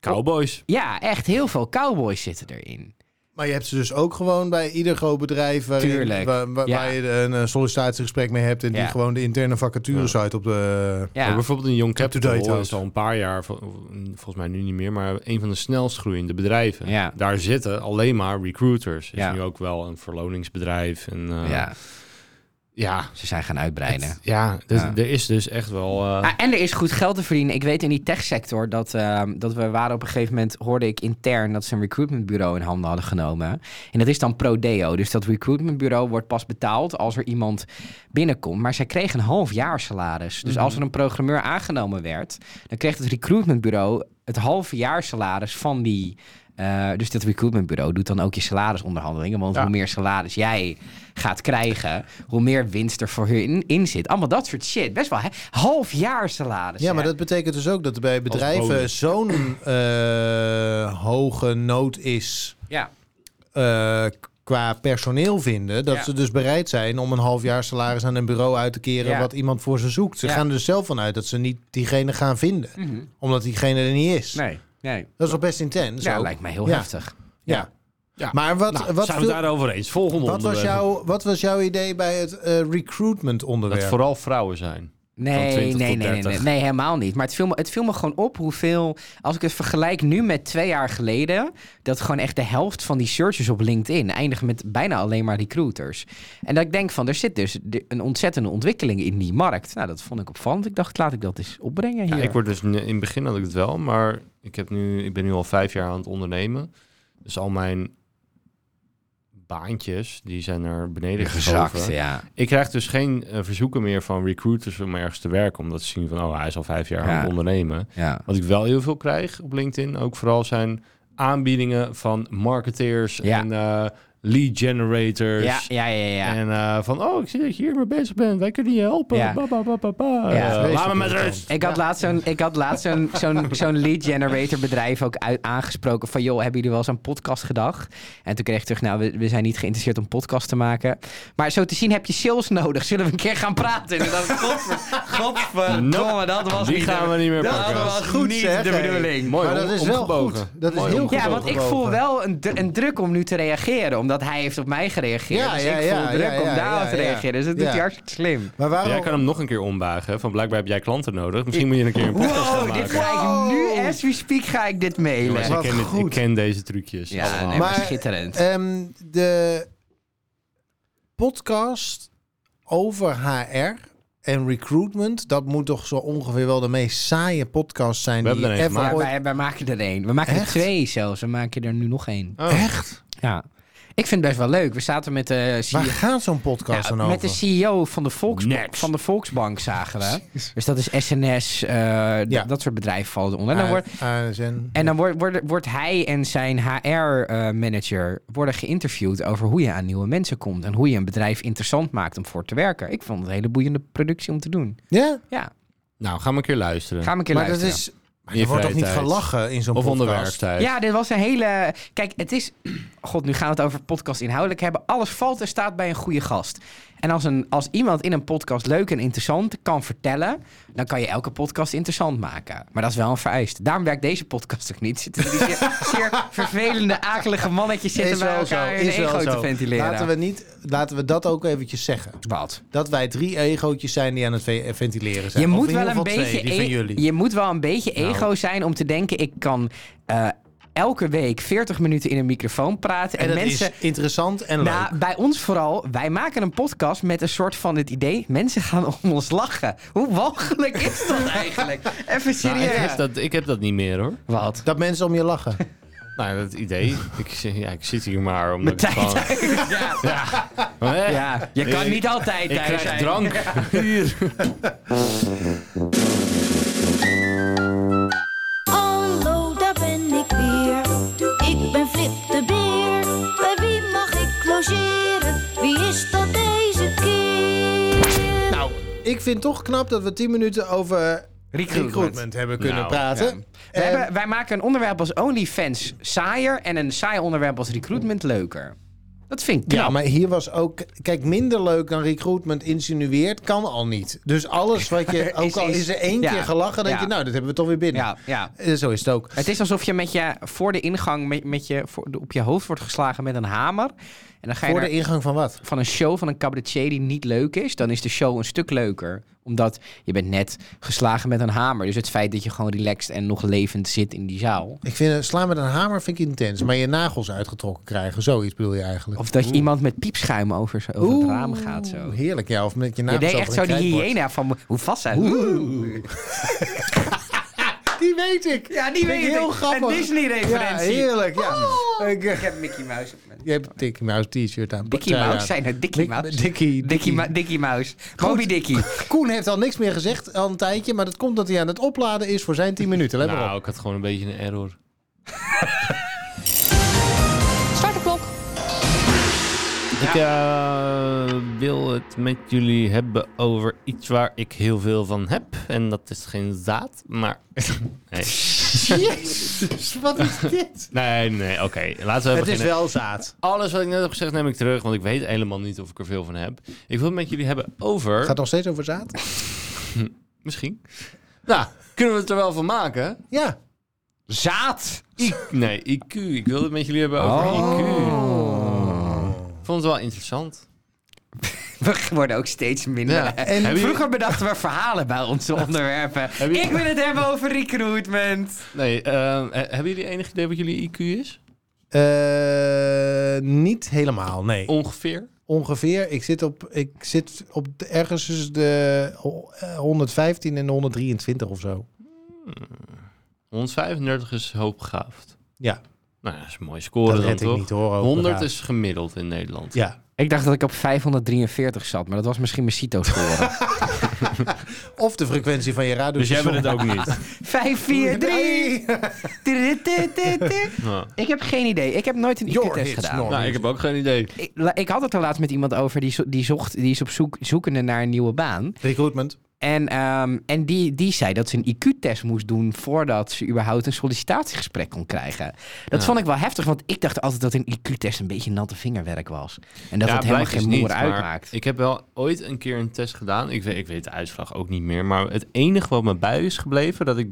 A: Cowboys.
C: Ja, echt heel veel cowboys zitten erin.
B: Maar je hebt ze dus ook gewoon bij ieder groot bedrijf waarin-
C: Tuurlijk,
B: waar, waar-
C: ja.
B: waar je een eh, sollicitatiegesprek mee hebt en die
C: Ja.
B: gewoon de interne vacatures uit op de...
C: Ja.
A: Ook bijvoorbeeld een Young
B: date
A: Capital
B: ook.
A: is al een paar jaar, vol- mm, volgens mij nu niet meer, maar een van de snelst groeiende bedrijven.
C: Ja.
A: Daar zitten alleen maar recruiters. Is
C: Ja.
A: nu ook wel een verloningsbedrijf. En, eh,
C: ja,
A: Ja,
C: ze zijn gaan uitbreiden.
A: ja, dus
C: Ja.
A: er is dus echt wel... eh,
C: Ah, en er is goed geld te verdienen. Ik weet in die techsector dat, ehm, dat we waren op een gegeven moment, hoorde ik intern dat ze een recruitmentbureau in handen hadden genomen. En dat is dan Prodeo. Dus dat recruitmentbureau wordt pas betaald als er iemand binnenkomt. Maar zij kregen een half jaar salaris. Dus als er een programmeur aangenomen werd, dan kreeg het recruitmentbureau het halve jaar salaris van die. eh, dus dat recruitmentbureau doet dan ook je salarisonderhandelingen. Want
A: Ja.
C: hoe meer salaris jij gaat krijgen, hoe meer winst er voor hun in zit. Allemaal dat soort shit. Best wel hè? half jaar salaris.
B: Ja, maar
C: hè?
B: dat betekent dus ook dat er bij
A: bodem.
B: bedrijven zo'n eh, hoge nood is
C: Ja.
B: eh, qua personeel vinden, dat
C: Ja.
B: ze dus bereid zijn om een half jaar salaris aan een bureau uit te keren
C: Ja.
B: wat iemand voor ze zoekt. Ze
C: Ja.
B: gaan er dus zelf vanuit dat ze niet diegene gaan vinden,
C: Mhm.
B: omdat diegene er niet is.
C: Nee, nee.
B: Dat is wel best intens.
C: Ja,
B: ook.
C: lijkt mij heel
B: Ja.
C: heftig.
B: Ja.
A: Ja.
B: Maar wat,
A: nou,
B: wat,
A: zijn
B: viel-
A: we daarover eens? Volgende
B: wat, was
A: onderwerp.
B: jouw, wat was jouw idee bij het eh, recruitment
A: Dat
B: onderwerp?
A: vooral vrouwen zijn. Van
C: Nee, nee,
A: 20
C: nee,
A: tot
C: nee, nee,
A: 30.
C: nee, helemaal niet. Maar het viel, me, het viel me gewoon op hoeveel, als ik het vergelijk nu met twee jaar geleden, dat gewoon echt de helft van die searches op LinkedIn eindigen met bijna alleen maar recruiters. En dat ik denk van, er zit dus de- een ontzettende ontwikkeling in die markt. Nou, dat vond ik opvallend. Ik dacht, laat ik dat eens opbrengen
A: Ja,
C: hier.
A: ik word dus in het begin had ik het wel, maar ik, heb nu, ik ben nu al vijf jaar aan het ondernemen. Dus al mijn baantjes, die zijn naar beneden
C: gezakt,
A: geschoven.
C: ja.
A: Ik krijg dus geen eh, verzoeken meer van recruiters om ergens te werken. Omdat ze zien van, oh, hij is al vijf jaar aan
C: Ja.
A: het ondernemen.
C: ja.
A: Wat ik wel heel veel krijg op LinkedIn, ook vooral zijn aanbiedingen van marketeers
C: Ja.
A: en eh, lead generators.
C: Ja, ja, ja, ja.
A: En eh, van, oh, ik zie dat je hiermee bezig bent. Wij kunnen je helpen.
C: Ja.
A: Ba, ba, ba, ba, ba.
C: Ja.
A: Eh, laat me met
B: Vreselijk.
A: rust.
C: Ik had laatst zo'n, ik had laatst zo'n, zo'n, zo'n lead generator bedrijf ook uit, aangesproken van joh, hebben jullie wel eens aan podcast gedacht? En toen kreeg ik terug, nou, we, we zijn niet geïnteresseerd om podcast te maken. Maar zo te zien heb je sales nodig. Zullen we een keer gaan praten? En dan dacht ik, godver- godverdomme, dat was
A: Die
C: niet
A: gaan
C: de-
A: we niet meer
C: Dat
A: pakken.
C: was
B: Goed,
C: niet
B: zeg,
C: de
B: hé.
C: bedoeling.
A: Mooi
B: Maar dat
A: om-
B: is wel
A: omgebogen.
B: goed. Dat is
A: Mooi
B: heel
A: omgebogen.
C: Ja, want ik
B: omgebogen.
C: voel wel een, dru- een druk om nu te reageren, omdat hij heeft op mij gereageerd.
B: Ja,
C: dus
B: ja,
C: ik voel
B: ja,
C: druk
B: ja,
C: om
B: ja,
C: daarop
B: ja,
C: te
B: ja.
C: reageren. Dus dat doet
B: Ja.
C: hij hartstikke slim.
B: Maar waarom...
A: Jij kan hem nog een keer ombuigen. hè, Van blijkbaar heb jij klanten nodig. Misschien moet je een keer een podcast gaan
C: Wow, dit
A: maken.
C: ga ik nu, as we speak, ga ik dit mailen.
A: Jongens,
B: Wat
A: ik, ken dit- ik
B: goed.
A: ken deze trucjes. Oh.
C: Ja,
A: allemaal.
C: nee, maar
B: Maar,
C: schitterend.
B: Ehm, de podcast over HR en recruitment, dat moet toch zo ongeveer wel de meest saaie podcast zijn
A: We
B: die
A: hebben er
B: ever
A: een gemaakt.
C: Ja,
B: ooit-
C: wij, wij maken er één. We maken er
B: Echt?
C: twee zelfs. We maken er nu nog één.
A: Oh.
B: Echt?
C: Ja. Ik vind het best wel leuk. We zaten met de
B: Waar
C: CEO,
B: gaat zo'n podcast
C: Ja,
B: dan over?
C: met de CEO van, de Volksbank,
A: Next.
C: van de Volksbank zagen we. Dus dat is SNS, eh, d-
B: Ja. Ah,
C: dat soort bedrijven vallen eronder. En dan, wordt,
B: A- ASN.
C: en dan wordt, wordt, wordt hij en zijn HR-manager worden geïnterviewd over hoe je aan nieuwe mensen komt. En hoe je een bedrijf interessant maakt om voor te werken. Ik vond het een hele boeiende productie om te doen.
B: Ja,
C: Ja,
A: Nou, ga maar een keer luisteren.
C: ga hem een keer
B: maar dat
C: luisteren.
B: is... maar
A: In je
B: er wordt toch niet
A: vrije tijd.
B: gelachen in zo'n
A: Of
B: podcast?
A: onder werktijd.
C: Ja, dit was een hele. Kijk, het is. God, nu gaan we het over podcast inhoudelijk hebben. Alles valt en staat bij een goede gast. En als, een, als iemand in een podcast leuk en interessant kan vertellen, dan kan je elke podcast interessant maken. Maar dat is wel een vereiste. Daarom werkt deze podcast ook niet. Zitten die zeer, zeer vervelende, akelige mannetjes zitten
B: Is
C: bij
B: wel zo,
C: elkaar hun
B: is
C: ego
B: wel
C: te
B: zo.
C: ventileren.
B: Laten we, niet, laten we dat ook eventjes zeggen.
C: Wat?
B: Dat wij drie egootjes zijn die aan het ve- ventileren zijn.
C: Je
B: Of
C: moet,
B: in
C: wel
B: ieder
C: een
B: geval twee,
C: beetje
B: die van
C: e-
B: jullie. Nou.
C: je moet wel een beetje ego zijn om te denken: ik kan eh, elke week 40 minuten in een microfoon praten. En,
B: en dat
C: mensen,
B: is interessant en leuk.
C: Nou, bij ons vooral, wij maken een podcast met een soort van het idee: mensen gaan om ons lachen. Hoe walgelijk is dat eigenlijk? Even
A: Nou, ik,
C: serieus.
A: heb dat, ik heb dat niet meer hoor.
C: Wat?
B: Dat mensen om je lachen.
A: Nou, dat idee. ik, zit- ja, ik zit hier maar omdat
C: Met
A: ik gewoon...
C: tijd uit. Ja.
A: Maar, hè,
C: ja, je kan
A: Ik-
C: niet altijd
A: Ik
C: thuis
A: krijg
C: zijn.
A: drank. Hier.
D: Hallo, daar ben ik weer. Ik ben Flip de Beer. Bij wie mag ik logeren? Wie is
B: vind toch knap dat we 10 minuten over
C: Recruitment.
B: recruitment hebben kunnen
A: Nou,
B: praten.
C: We
B: En-
C: hebben, wij maken een onderwerp als OnlyFans saaier en een saai onderwerp als recruitment leuker. Dat vind ik knap.
B: Ja, maar hier was ook... Kijk, minder leuk dan recruitment insinueert kan al niet. Dus alles wat je... Ook
C: Is-
B: al
C: is-
B: is er één
C: ja.
B: keer gelachen, denk
C: Ja.
B: je... Nou, dat hebben we toch weer binnen.
C: Ja, ja.
B: Eh, Zo is het ook.
C: Het is alsof je, met je voor de ingang met, met je, voor, op je hoofd wordt geslagen met een hamer. En dan ga je
B: Voor
C: naar-
B: de ingang van wat?
C: van een show van een cabaretier die niet leuk is, dan is de show een stuk leuker. Omdat je bent net geslagen met een hamer. Dus het feit dat je gewoon relaxed en nog levend zit in die zaal.
B: Ik vind eh, slaan met een hamer vind ik intens. Maar je nagels uitgetrokken krijgen, zoiets bedoel je eigenlijk.
C: Of dat je iemand met piepschuim over, zo- over het raam gaat. Zo.
B: Oeh, Heerlijk, ja. Of met
C: Je
B: je nagels
C: deed
B: over
C: echt zo
B: een
C: die
B: krijtbord.
C: hyena van... Hoe vast zijn
B: Die weet ik.
C: Ja, die
B: Vind ik
C: weet
B: heel
C: ik.
B: grappig.
C: Een Oh. Disney-referentie.
B: Ja, heerlijk, ja. Ik, eh,
C: Ik heb Mickey Mouse.
B: je hebt een Dickie Mouse t-shirt aan.
C: Dickie
B: Trui
C: Mouse,
B: aan.
C: zijn het Dickie
B: Dick-
C: Mouse?
B: Dickie,
C: Dickie,
B: Dickie.
C: Ma- Dickie Mouse. Moby Dickie.
B: Koen heeft al niks meer gezegd al een tijdje, maar dat komt dat hij aan het opladen is voor zijn 10 minuten. Let maar
A: Nou,
B: op.
A: ik had gewoon een beetje een error.
G: Start de klok.
A: Ik eh, wil het met jullie hebben over iets waar ik heel veel van heb. En dat is geen zaad, maar... Nee,
B: Jezus, wat is dit?
A: nee, nee oké. Laten we even
B: Het is
A: beginnen.
B: wel zaad.
A: Alles wat ik net heb gezegd neem ik terug, want ik weet helemaal niet of ik er veel van heb. Ik wil het met jullie hebben over...
B: Gaat het nog steeds over zaad?
A: Misschien.
E: Nou, kunnen we het er wel van maken?
B: Ja.
C: Zaad.
A: I- nee, IQ. Ik wil het met jullie hebben
B: Oh.
A: over IQ.
C: Oh.
A: Vond het wel interessant.
C: We worden ook steeds minder.
A: Ja.
C: En
A: Hebben
C: vroeger bedachten we verhalen bij onze onderwerpen.
A: je-
C: Ik wil het hebben over recruitment.
A: Nee, eh, he- hebben jullie enig idee wat jullie IQ is?
B: Eh, niet helemaal, nee.
A: Ongeveer.
B: Ongeveer, ik zit, op, ik zit op de- ergens tussen de ho- eh, 115 en de 123 of zo.
A: 135 is hoogbegaafd.
B: Ja,
A: Nou, dat is een mooie score
B: dat
A: dan
B: red ik
A: toch?
B: niet hoor. ook
A: 100
B: begaafd.
A: is gemiddeld in Nederland.
B: Ja.
C: Ik dacht dat ik op 543 zat, maar dat was misschien mijn CITO-score.
B: Of de frequentie van je radio.
A: Dus jij bent het ook niet.
C: 543.
A: Ja.
C: Ik heb geen idee. Ik heb nooit een
B: Your
C: IQ-test
B: hits,
C: gedaan.
B: Norm.
A: Nou, ik heb ook geen idee.
C: Ik, la- ik had het er laatst met iemand over die, zo- die, zocht, die is op zoek zoekende naar een nieuwe baan.
B: Recruitment.
C: En, ehm, en die, die zei dat ze een IQ-test moest doen voordat ze überhaupt een sollicitatiegesprek kon krijgen. Dat vond ik wel heftig, want ik dacht altijd dat een IQ-test een beetje natte vingerwerk was. En dat het helemaal
A: blijkt
C: geen
A: dus
C: moer
A: niet, maar
C: uitmaakt.
A: Ik heb wel ooit een keer een test gedaan. Ik weet, ik weet de uitslag ook niet meer. Maar het enige wat me bij is gebleven, dat ik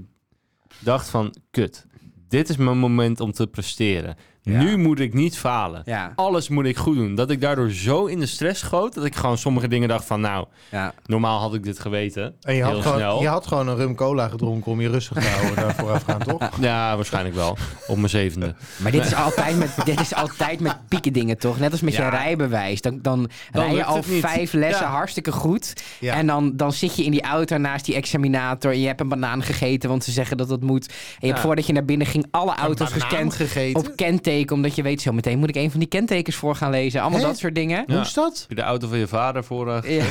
A: dacht van, kut, dit is mijn moment om te presteren.
C: Ja.
A: Nu moet ik niet falen.
C: Ja,
A: Alles moet ik goed doen. Dat ik daardoor zo in de stress schoot, dat ik gewoon sommige dingen dacht van, nou,
C: ja.
A: normaal had ik dit geweten.
B: En je had,
A: Heel
B: gewoon,
A: snel.
B: je had gewoon een rum cola gedronken om je rustig te houden daar voorafgaan, toch?
A: Ja, waarschijnlijk wel. Op mijn zevende.
C: Maar dit is, altijd met, dit is altijd met pieken dingen, toch? Net als met je
A: Ja.
C: rijbewijs. Dan, dan, rij je
A: lukt
C: al
A: het niet.
C: vijf lessen
A: Ja.
C: hartstikke goed.
B: Ja.
C: En dan, dan zit je in die auto naast die examinator. En je hebt een banaan gegeten, want ze zeggen dat dat moet. En je hebt
A: Ja.
C: voordat je naar binnen ging alle auto's
B: banaan
C: gescand
B: gegeten?
C: op kenteken. Omdat je weet, zo meteen moet ik een van die kentekens voor gaan lezen. Allemaal
B: Hè?
C: dat soort dingen.
A: Ja.
B: Moest Oh, dat?
A: Heb je de auto van je vader voor eh,
C: Ja.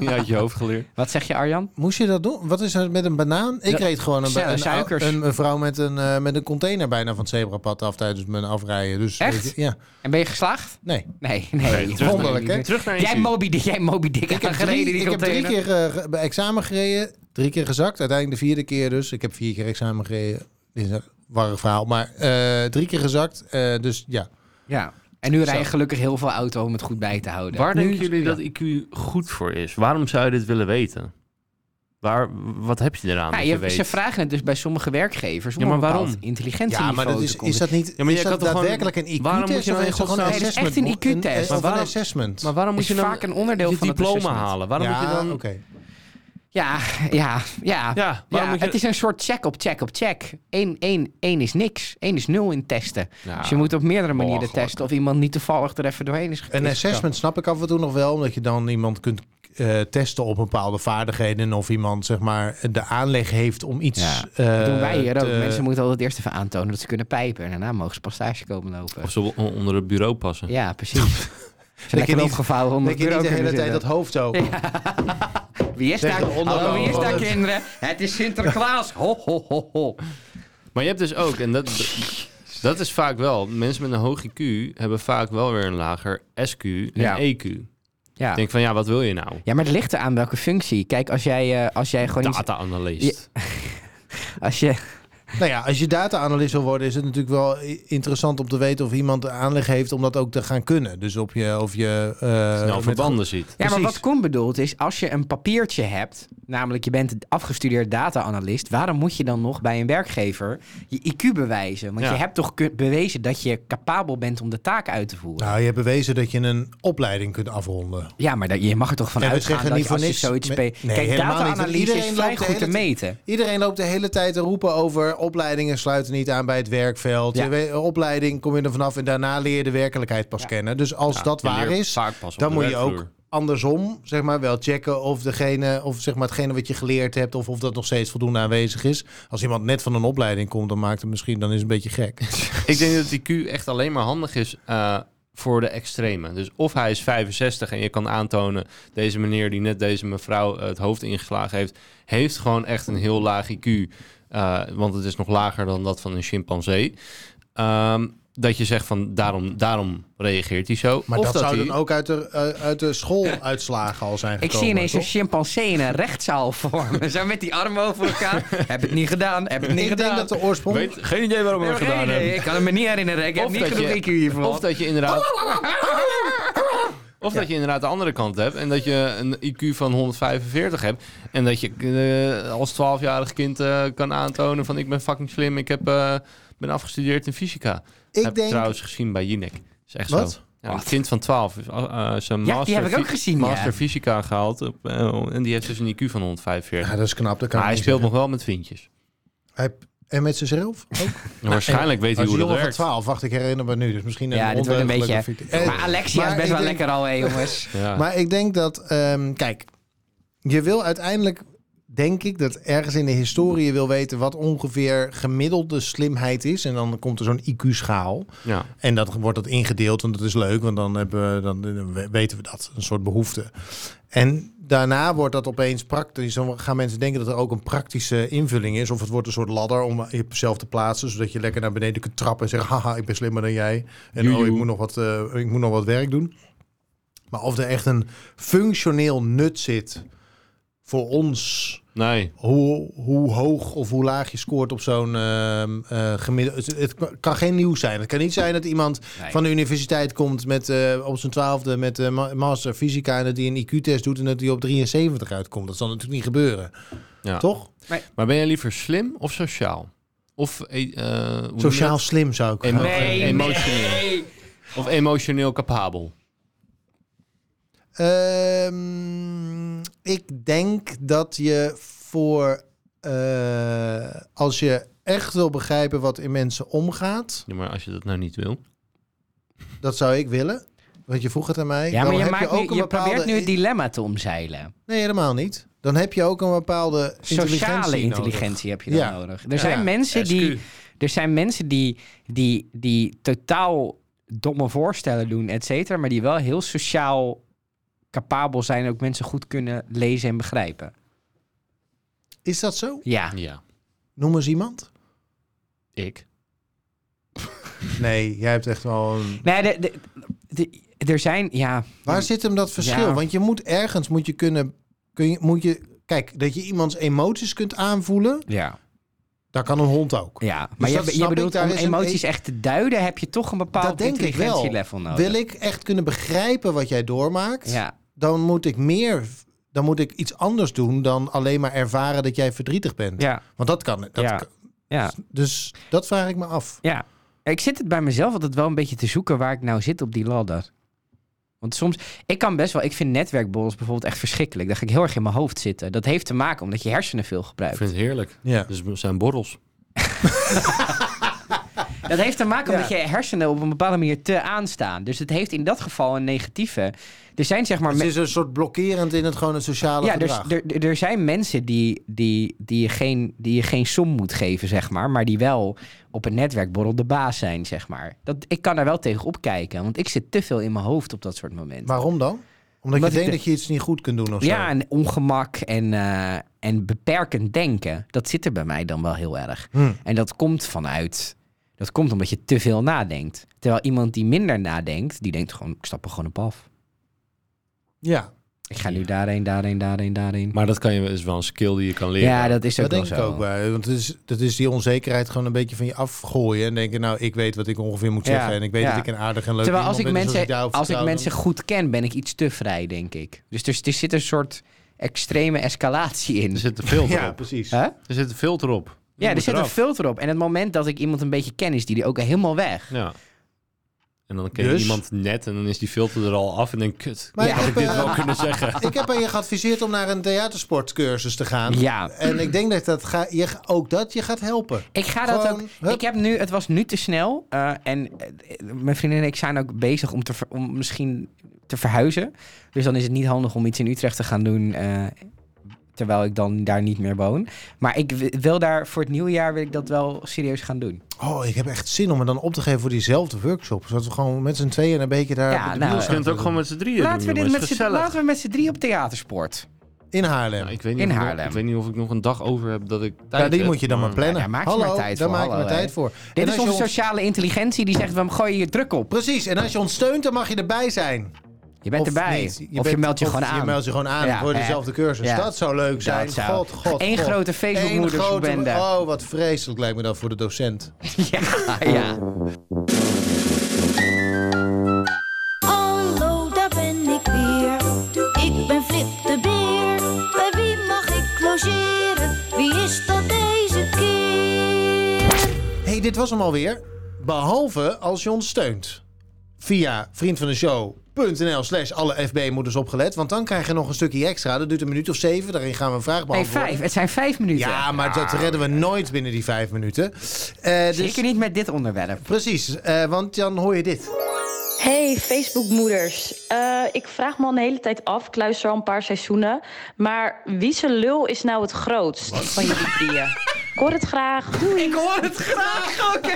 A: ja, uit je hoofd geleerd?
C: Wat zeg je, Arjan?
B: Moest je dat doen? Wat is er met een banaan? Ik
C: Ja,
B: reed gewoon een, ba-
C: su-
B: een,
C: suikers.
B: een, een vrouw met een, eh, met een container bijna van het zebrapad af tijdens mijn afrijden. Dus,
C: Echt?
B: weet je- ja.
C: En ben je geslaagd?
B: Nee.
C: Nee, nee.
A: Nee, terug
B: Wonderlijk, hè?
A: Terug naar
C: Jij
A: IQ.
C: Moby Dick, jij Moby Dick
B: Ik heb
C: aangereden,
B: drie,
C: die
B: ik heb drie
C: container.
B: keer eh, ge- bij examen gereden, drie keer gezakt. Uiteindelijk de vierde keer dus. Ik heb vier keer examen gereden. Dit is een warrig verhaal. Maar eh, drie keer gezakt. eh, dus ja.
C: Ja. En nu rij je
B: Zo.
C: gelukkig heel veel auto om het goed bij te houden.
A: Waar
C: Nu-
A: denken jullie dat IQ goed voor is? Waarom zou je dit willen weten? Waar, wat heb je eraan?
C: Ja,
A: dat
C: je-
A: je weet?
C: ze vragen het dus bij sommige werkgevers. Om
A: Ja, maar
C: een bepaald
A: waarom?
C: Intelligentieniveau
B: Ja, maar dat
C: te
B: is,
C: komen.
B: is dat niet
A: Ja, maar
B: is
A: je
B: dat
A: kan toch gewoon-
B: daadwerkelijk een IQ-test?
A: Waarom moet je
B: of
A: nou
B: is
A: in
B: dat gewoon een
A: godsnaam-
C: Nee, dat is
B: assessment?
C: echt een IQ-test.
B: Een, of
A: Maar
B: een
A: waarom-
B: assessment.
A: maar waarom moet
C: is
A: je dan
C: vaak een onderdeel
A: je
C: van het
A: diploma
C: assessment.
A: halen? Waarom
B: ja,
A: moet je dan...
B: oké.
C: Ja, ja, ja. ja,
A: Ja, waarom moet je...
C: het is een soort check op check op check. Eén, één, één is niks. Eén is nul in testen.
A: Ja.
C: Dus je moet op meerdere manieren
A: Belachelijk.
C: testen of iemand niet toevallig er even doorheen is
B: Een
C: gekomen.
B: assessment snap ik af en toe nog wel, omdat je dan iemand kunt eh, testen op bepaalde vaardigheden. en Of iemand zeg maar de aanleg heeft om iets.
C: Ja,
B: eh,
C: Dat doen wij hier ook.
B: te-
C: Mensen moeten altijd eerst even aantonen dat ze kunnen pijpen. En daarna mogen ze pas stage komen lopen.
A: Of ze on- onder het bureau passen.
C: Ja, precies. Ze
B: je
C: lekker
B: niet-
C: opgevouwen onder
B: Dat
C: het
B: je niet
C: bureau
B: de hele
C: kunnen
B: tijd dat
C: zitten.
B: hoofd zo.
C: Wie is daar?
B: tegen Oh. de onderkant
C: Hallo, wie is
B: van
C: daar,
B: het-
C: kinderen? Het is Sinterklaas. Ho, ho, ho, ho.
A: Maar je hebt dus ook, en dat, dat is vaak wel... Mensen met een hoog IQ hebben vaak wel weer een lager SQ en
C: Ja.
A: EQ.
C: Ja.
A: Ik denk van, ja, wat wil je nou?
C: ja, maar het ligt eraan welke functie. Kijk, als jij, eh, als jij gewoon iets...
A: Data-analyst.
C: Als je,
B: Nou ja, als je data-analyst wil worden, is het natuurlijk wel i- interessant om te weten of iemand de aanleg heeft om dat ook te gaan kunnen. Dus op je, of je eh,
A: Snel
B: met-
A: verbanden ziet.
C: Ja, maar
B: Precies.
C: wat Koen bedoelt is, als je een papiertje hebt, namelijk je bent een afgestudeerd data-analyst, waarom moet je dan nog bij een werkgever je IQ bewijzen? Want
A: Ja.
C: je hebt toch kun- bewezen dat je capabel bent om de taak uit te voeren.
B: Nou, je hebt bewezen dat je een opleiding kunt afronden.
C: Ja, maar dat, je mag er toch van
B: Ja, we
C: uitgaan
B: zeggen
C: dat
B: niet
C: je- als
B: voor
C: je
B: niks
C: zoiets...
B: met-
C: spe-
B: Nee,
C: Kijk,
B: helemaal niet.
C: data-analyse
B: Iedereen
C: is
B: loopt
C: vrij
B: de
C: goed te
B: hele
C: meten.
B: Iedereen loopt de hele tijd te roepen over opleidingen sluiten niet aan bij het werkveld.
C: Ja.
B: Je weet, opleiding kom je er vanaf en daarna leer je de werkelijkheid pas kennen. Dus als
A: Ja,
B: dat
A: je
B: waar
A: leert
B: is,
A: vaak pas op
B: dan
A: de
B: moet je
A: werkvloer.
B: ook andersom zeg maar, wel checken of, degene, of zeg maar, hetgene wat je geleerd hebt of of dat nog steeds voldoende aanwezig is. Als iemand net van een opleiding komt, dan maakt het misschien dan is het een beetje gek.
A: Ik denk dat die Q echt alleen maar handig is eh, voor de extreme. Dus of hij is 65 en je kan aantonen... deze meneer die net deze mevrouw eh, het hoofd ingeslagen heeft... heeft gewoon echt een heel laag IQ. eh, want het is nog lager dan dat van een chimpansee. Ehm, dat je zegt van daarom, daarom reageert hij zo.
B: Maar
A: of
B: dat, zou
A: hij-
B: dan ook uit de, eh, uit de schooluitslagen al zijn
C: Ik
B: gekomen.
C: zie ineens een
B: toch?
C: chimpansee in een rechtszaal vormen. Zo met die armen over elkaar. heb het niet gedaan, heb het niet
B: Ik denk
C: gedaan.
B: dat de oorsprong...
A: Weet, geen idee waarom hij
C: Nee,
A: het
C: nee,
A: gedaan
C: nee,
A: heeft.
C: ik kan het me niet herinneren. Ik heb
A: Of
C: niet
A: dat
C: genoeg
A: je-
C: IQ hiervoor.
A: Of dat je inderdaad. Of dat je inderdaad de andere kant hebt en dat je een IQ van 145 hebt. En dat je eh, als 12-jarig kind eh, kan aantonen van ik ben fucking slim, ik heb, eh, ben afgestudeerd in fysica.
B: Ik
A: heb
B: denk-
A: trouwens gezien bij Jinek. Is echt
B: Wat?
A: zo. Ja, een kind van 12. is, eh, eh, zijn
C: Ja,
A: master
C: die heb ik ook
A: fy-
C: gezien, ja.
A: Master fysica gehaald op, eh, en die heeft dus een IQ van 145.
B: Ja, dat is knap. Dat kan
A: maar hij
B: ik niet
A: speelt nog
B: zeggen.
A: wel met vriendjes.
B: Hij- En met zichzelf ook?
A: En waarschijnlijk weet hij
B: Als
A: hoe dat
B: jongen van
A: werkt.
B: 12, wacht, ik herinner me nu. Dus misschien
C: Ja,
B: een
C: dit wordt een beetje...
B: ondeugdelijke fiet- Eh,
C: Maar Alexia
B: maar
C: is best
B: ik
C: wel
B: denk-
C: lekker al, hè, jongens.
A: Ja.
B: Maar ik denk dat, ehm, kijk, je wil uiteindelijk, denk ik, dat ergens in de historie je wil weten wat ongeveer gemiddelde slimheid is. En dan komt er zo'n IQ-schaal.
A: ja.
B: En dat wordt dat ingedeeld, want dat is leuk, want dan, hebben we, dan, dan we- weten we dat. Een soort behoefte. En daarna wordt dat opeens praktisch. Dan gaan mensen denken dat er ook een praktische invulling is. Of het wordt een soort ladder om jezelf te plaatsen, zodat je lekker naar beneden kunt trappen en zeggen: haha, ik ben slimmer dan jij. En oh,
A: Joejoe.
B: ik moet nog wat, eh, ik moet nog wat werk doen. Maar of er echt een functioneel nut zit voor ons
A: Nee.
B: hoe, hoe hoog of hoe laag je scoort op zo'n ehm eh, gemiddelde. Het, het kan geen nieuws zijn. Het kan niet zijn dat iemand
C: Nee.
B: van de universiteit komt met, eh, op zijn twaalfde met eh, ma- master fysica en dat die een IQ-test doet en dat die op 73 uitkomt. Dat zal natuurlijk niet gebeuren.
A: Ja.
B: Toch?
A: Maar ben jij liever slim of sociaal? Of eh, eh, hoe
B: Sociaal
A: noem
B: slim zou ik
A: je dat? Emo-
B: gaan.
C: Nee,
A: eh, emotioneel.
C: nee.
A: Of emotioneel capabel.
B: Ehm, ik denk dat je voor eh, als je echt wil begrijpen wat in mensen omgaat,
A: Ja, maar als je dat nou niet wil.
B: dat zou ik willen. Want je vroeg het aan mij.
C: Ja, maar
B: Dan
C: je,
B: heb
C: maakt
B: ook
C: nu,
B: een
C: je probeert
B: bepaalde
C: nu het dilemma te omzeilen.
B: Nee, helemaal niet. Dan heb je ook een bepaalde
C: Sociale
B: intelligentie
C: intelligentie heb je dan
B: Ja.
C: nodig. Er zijn, mensen
A: SQ.
C: die, er zijn mensen die, die, die totaal domme voorstellen doen, et cetera, maar die wel heel sociaal capabel zijn en ook mensen goed kunnen lezen en begrijpen.
B: nodig. Is dat zo?
C: Ja.
A: Ja,
B: Noem eens iemand.
A: ik.
B: Nee, jij hebt echt wel een...
C: Nee, de, de, de- er zijn, ja,
B: Waar zit hem dat verschil?
C: Ja.
B: Want je moet ergens moet je kunnen... Kun je, moet je, kijk, dat je iemands emoties kunt aanvoelen,
C: ja.
B: dat kan een hond ook.
C: Ja, maar
B: Dus dat
C: je, je
B: snap ik,
C: bedoelt
B: daar
C: om
B: is een- e-
C: emoties echt te duiden, heb je toch een bepaald
B: dat denk ik wel.
C: intelligentielevel nodig.
B: Wil ik echt kunnen begrijpen wat jij doormaakt,
C: Ja,
B: dan moet ik meer... Dan moet ik iets anders doen dan alleen maar ervaren dat jij verdrietig bent.
C: ja,
B: Want dat kan. Dat
C: Ja.
B: kan-
C: ja,
B: Dus dat vraag ik me af.
C: ja. Ik zit het bij mezelf altijd wel een beetje te zoeken waar ik nou zit op die ladder. Want soms, ik kan best wel, ik vind netwerkborrels bijvoorbeeld echt verschrikkelijk. Daar ga ik heel erg in mijn hoofd zitten. Dat heeft te maken omdat je hersenen veel
A: Ik
C: gebruikt.
A: vind het heerlijk.
B: Ja.
A: Dus het zijn borrels.
C: Dat heeft te maken omdat je hersenen op een bepaalde manier te aanstaan. Dus het heeft in dat geval een negatieve. Er zijn zeg maar...
B: Het
C: me-
B: is een soort blokkerend in het gewoon het sociale
C: Ja, dus
B: gedrag.
C: er, er, er zijn mensen die, die, die, je geen, die je geen som moet geven, zeg maar. Maar die wel op een netwerkborrel de baas zijn, zeg maar. Dat, ik kan daar wel tegen opkijken. Want ik zit te veel in mijn hoofd op dat soort momenten.
B: Waarom dan? Omdat,
C: Omdat
B: je denkt
C: ik de-
B: dat je iets niet goed kunt doen of zo.
C: ja, en ongemak en, eh, en beperkend denken. Dat zit er bij mij dan wel heel erg.
B: Hmm.
C: En dat komt vanuit... Dat komt omdat je te veel nadenkt. Terwijl iemand die minder nadenkt, die denkt gewoon... Ik stap er gewoon op af.
B: Ja,
C: Ik ga nu daarheen, daarheen, daarheen, daarheen.
A: Maar dat kan je, is wel een skill die je kan leren.
C: Ja, dat is ook wel
B: dat denk ik
C: zo.
B: ook wel. Want het is, dat is die onzekerheid gewoon een beetje van je afgooien. En denken, nou, ik weet wat ik ongeveer moet
C: Ja,
B: zeggen. En ik weet
C: ja.
B: dat ik een aardig en leuk
C: Terwijl
B: iemand
C: als ik,
B: ben. Dus
C: mensen,
B: als ik, daarop
C: als ik
B: vertrouw,
C: mensen goed ken, ben ik iets te vrij, denk ik. Dus er, er zit een soort extreme escalatie in.
B: Dus
A: Er zit een filter
B: dan- Ja,
A: op.
B: precies.
C: Huh?
A: Er zit een filter op. Je
C: Ja, er
A: moet
C: zit een
A: eraf.
C: filter op. En het moment dat ik iemand een beetje ken, is die die ook helemaal weg.
A: Ja. En dan ken je
B: Dus?
A: iemand net en dan is die filter er al af en denk kut,
B: Maar
C: Ja.
B: ik,
A: had
B: heb,
A: ik dit
B: eh,
A: wel kunnen zeggen.
B: ik heb aan je geadviseerd om naar een theatersportcursus te gaan.
C: Ja.
B: En ik denk dat, dat ga, je, ook dat je gaat helpen.
C: Ik ga dat
B: Gewoon,
C: ook.
B: hup.
C: Ik heb nu, het was nu te snel. eh, en eh, mijn vriendin en ik zijn ook bezig om, te ver- om misschien te verhuizen. Dus dan is het niet handig om iets in Utrecht te gaan doen. eh, terwijl ik dan daar niet meer woon. Maar ik wi- wil daar voor het nieuwe jaar wil ik dat wel serieus gaan doen.
B: Oh, ik heb echt zin om me dan op te geven voor diezelfde workshop. Zodat we gewoon met z'n tweeën een beetje daar
C: Ja,
B: op
C: nou,
B: de wielen
A: Je
B: staan
A: kunt het ook
B: te
A: gewoon
B: doen.
A: met z'n drieën
C: Laten we,
A: doen,
C: dit met
A: jongens.
C: z'n-
A: Gezellig.
C: laten we met z'n drie op theatersport.
B: in Haarlem.
A: Nou, ik weet niet
C: In
A: of ik nog-
C: Haarlem.
A: Ik weet niet of ik nog een dag over heb dat ik tijd
B: Ja, die
A: heb,
B: moet je dan maar plannen.
C: Ja, daar maak je
B: hallo,
C: maar tijd
B: daar
C: voor,
B: maak je maar
C: hallo,
B: tijd
C: hè.
B: voor. En
C: Dit
B: als
C: is
B: je
C: onze
B: ons-
C: sociale intelligentie die zegt: we gooien je druk op.
B: Precies, en als je ons steunt, dan mag je erbij zijn.
C: Je bent
B: Of
C: erbij.
B: niet.
C: of
B: bent-
C: je meldt je
B: of
C: gewoon aan.
B: Je meldt je gewoon aan
C: Ja,
B: voor
C: hè.
B: dezelfde cursus.
C: Ja.
B: Dat zou leuk zijn.
C: Dat zou-
B: God, God,
C: Eén
B: God.
C: grote Facebookmoeders
B: Eén grote-
C: bende.
B: Oh, wat vreselijk lijkt me dat voor de docent.
C: ja, ja.
D: Hallo, daar ben ik weer. Ik ben Flip de Beer. Bij wie mag ik logeren? Wie is dat deze keer?
B: hey, dit was hem alweer. Behalve als je ons steunt. Via vriendvandeshow.nl slash alle FB-moeders dus opgelet. Want dan krijg je nog een stukje extra. Dat duurt een minuut of zeven. Daarin gaan we een vraag
C: Nee,
B: beantwoorden.
C: vijf. Het zijn vijf minuten.
B: Ja, maar dat redden we nooit binnen die vijf minuten. Eh, dus-
C: Zeker niet met dit onderwerp.
B: Precies, eh, want dan hoor je dit.
H: Hey Facebookmoeders. Eh ik vraag me al een hele tijd af, ik luister al een paar seizoenen. Maar wie zijn lul is nou het grootst van jullie drieën? Ik hoor het graag. Doei!
C: Ik hoor het graag ook.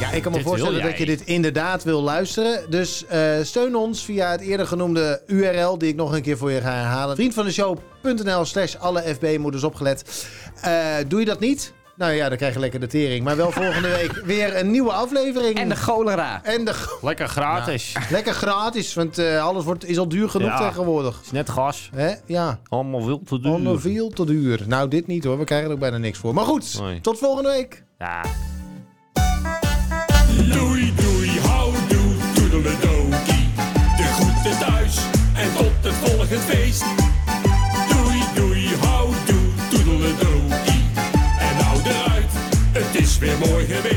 B: Ja, ik kan me
A: Dit
B: voorstellen
A: wil
B: dat je
A: jij.
B: dit inderdaad wil luisteren. Dus eh, steun ons via het eerder genoemde URL, die ik nog een keer voor je ga herhalen. Vriendvandeshow.nl slash alle FB-moeders dus opgelet. Eh, doe je dat niet? Nou ja, dan krijg je lekker de tering. Maar wel volgende week weer een nieuwe aflevering.
C: En de cholera.
B: En de-
A: Lekker gratis.
B: lekker gratis, want eh, alles wordt, is al duur genoeg
A: Ja.
B: tegenwoordig.
A: Is net gas.
B: Hè? Ja,
A: Allemaal veel te duur.
B: allemaal veel te duur. Nou, dit niet hoor, we krijgen er ook bijna niks voor. Maar goed,
A: Nee.
B: tot volgende week.
A: Ja.
I: Doei, doei, houdoe, toedeledokie. De groeten thuis en tot het volgend feest. Doei, doei, houdoe, toedeledokie. En nou eruit, het is weer mooi geweest.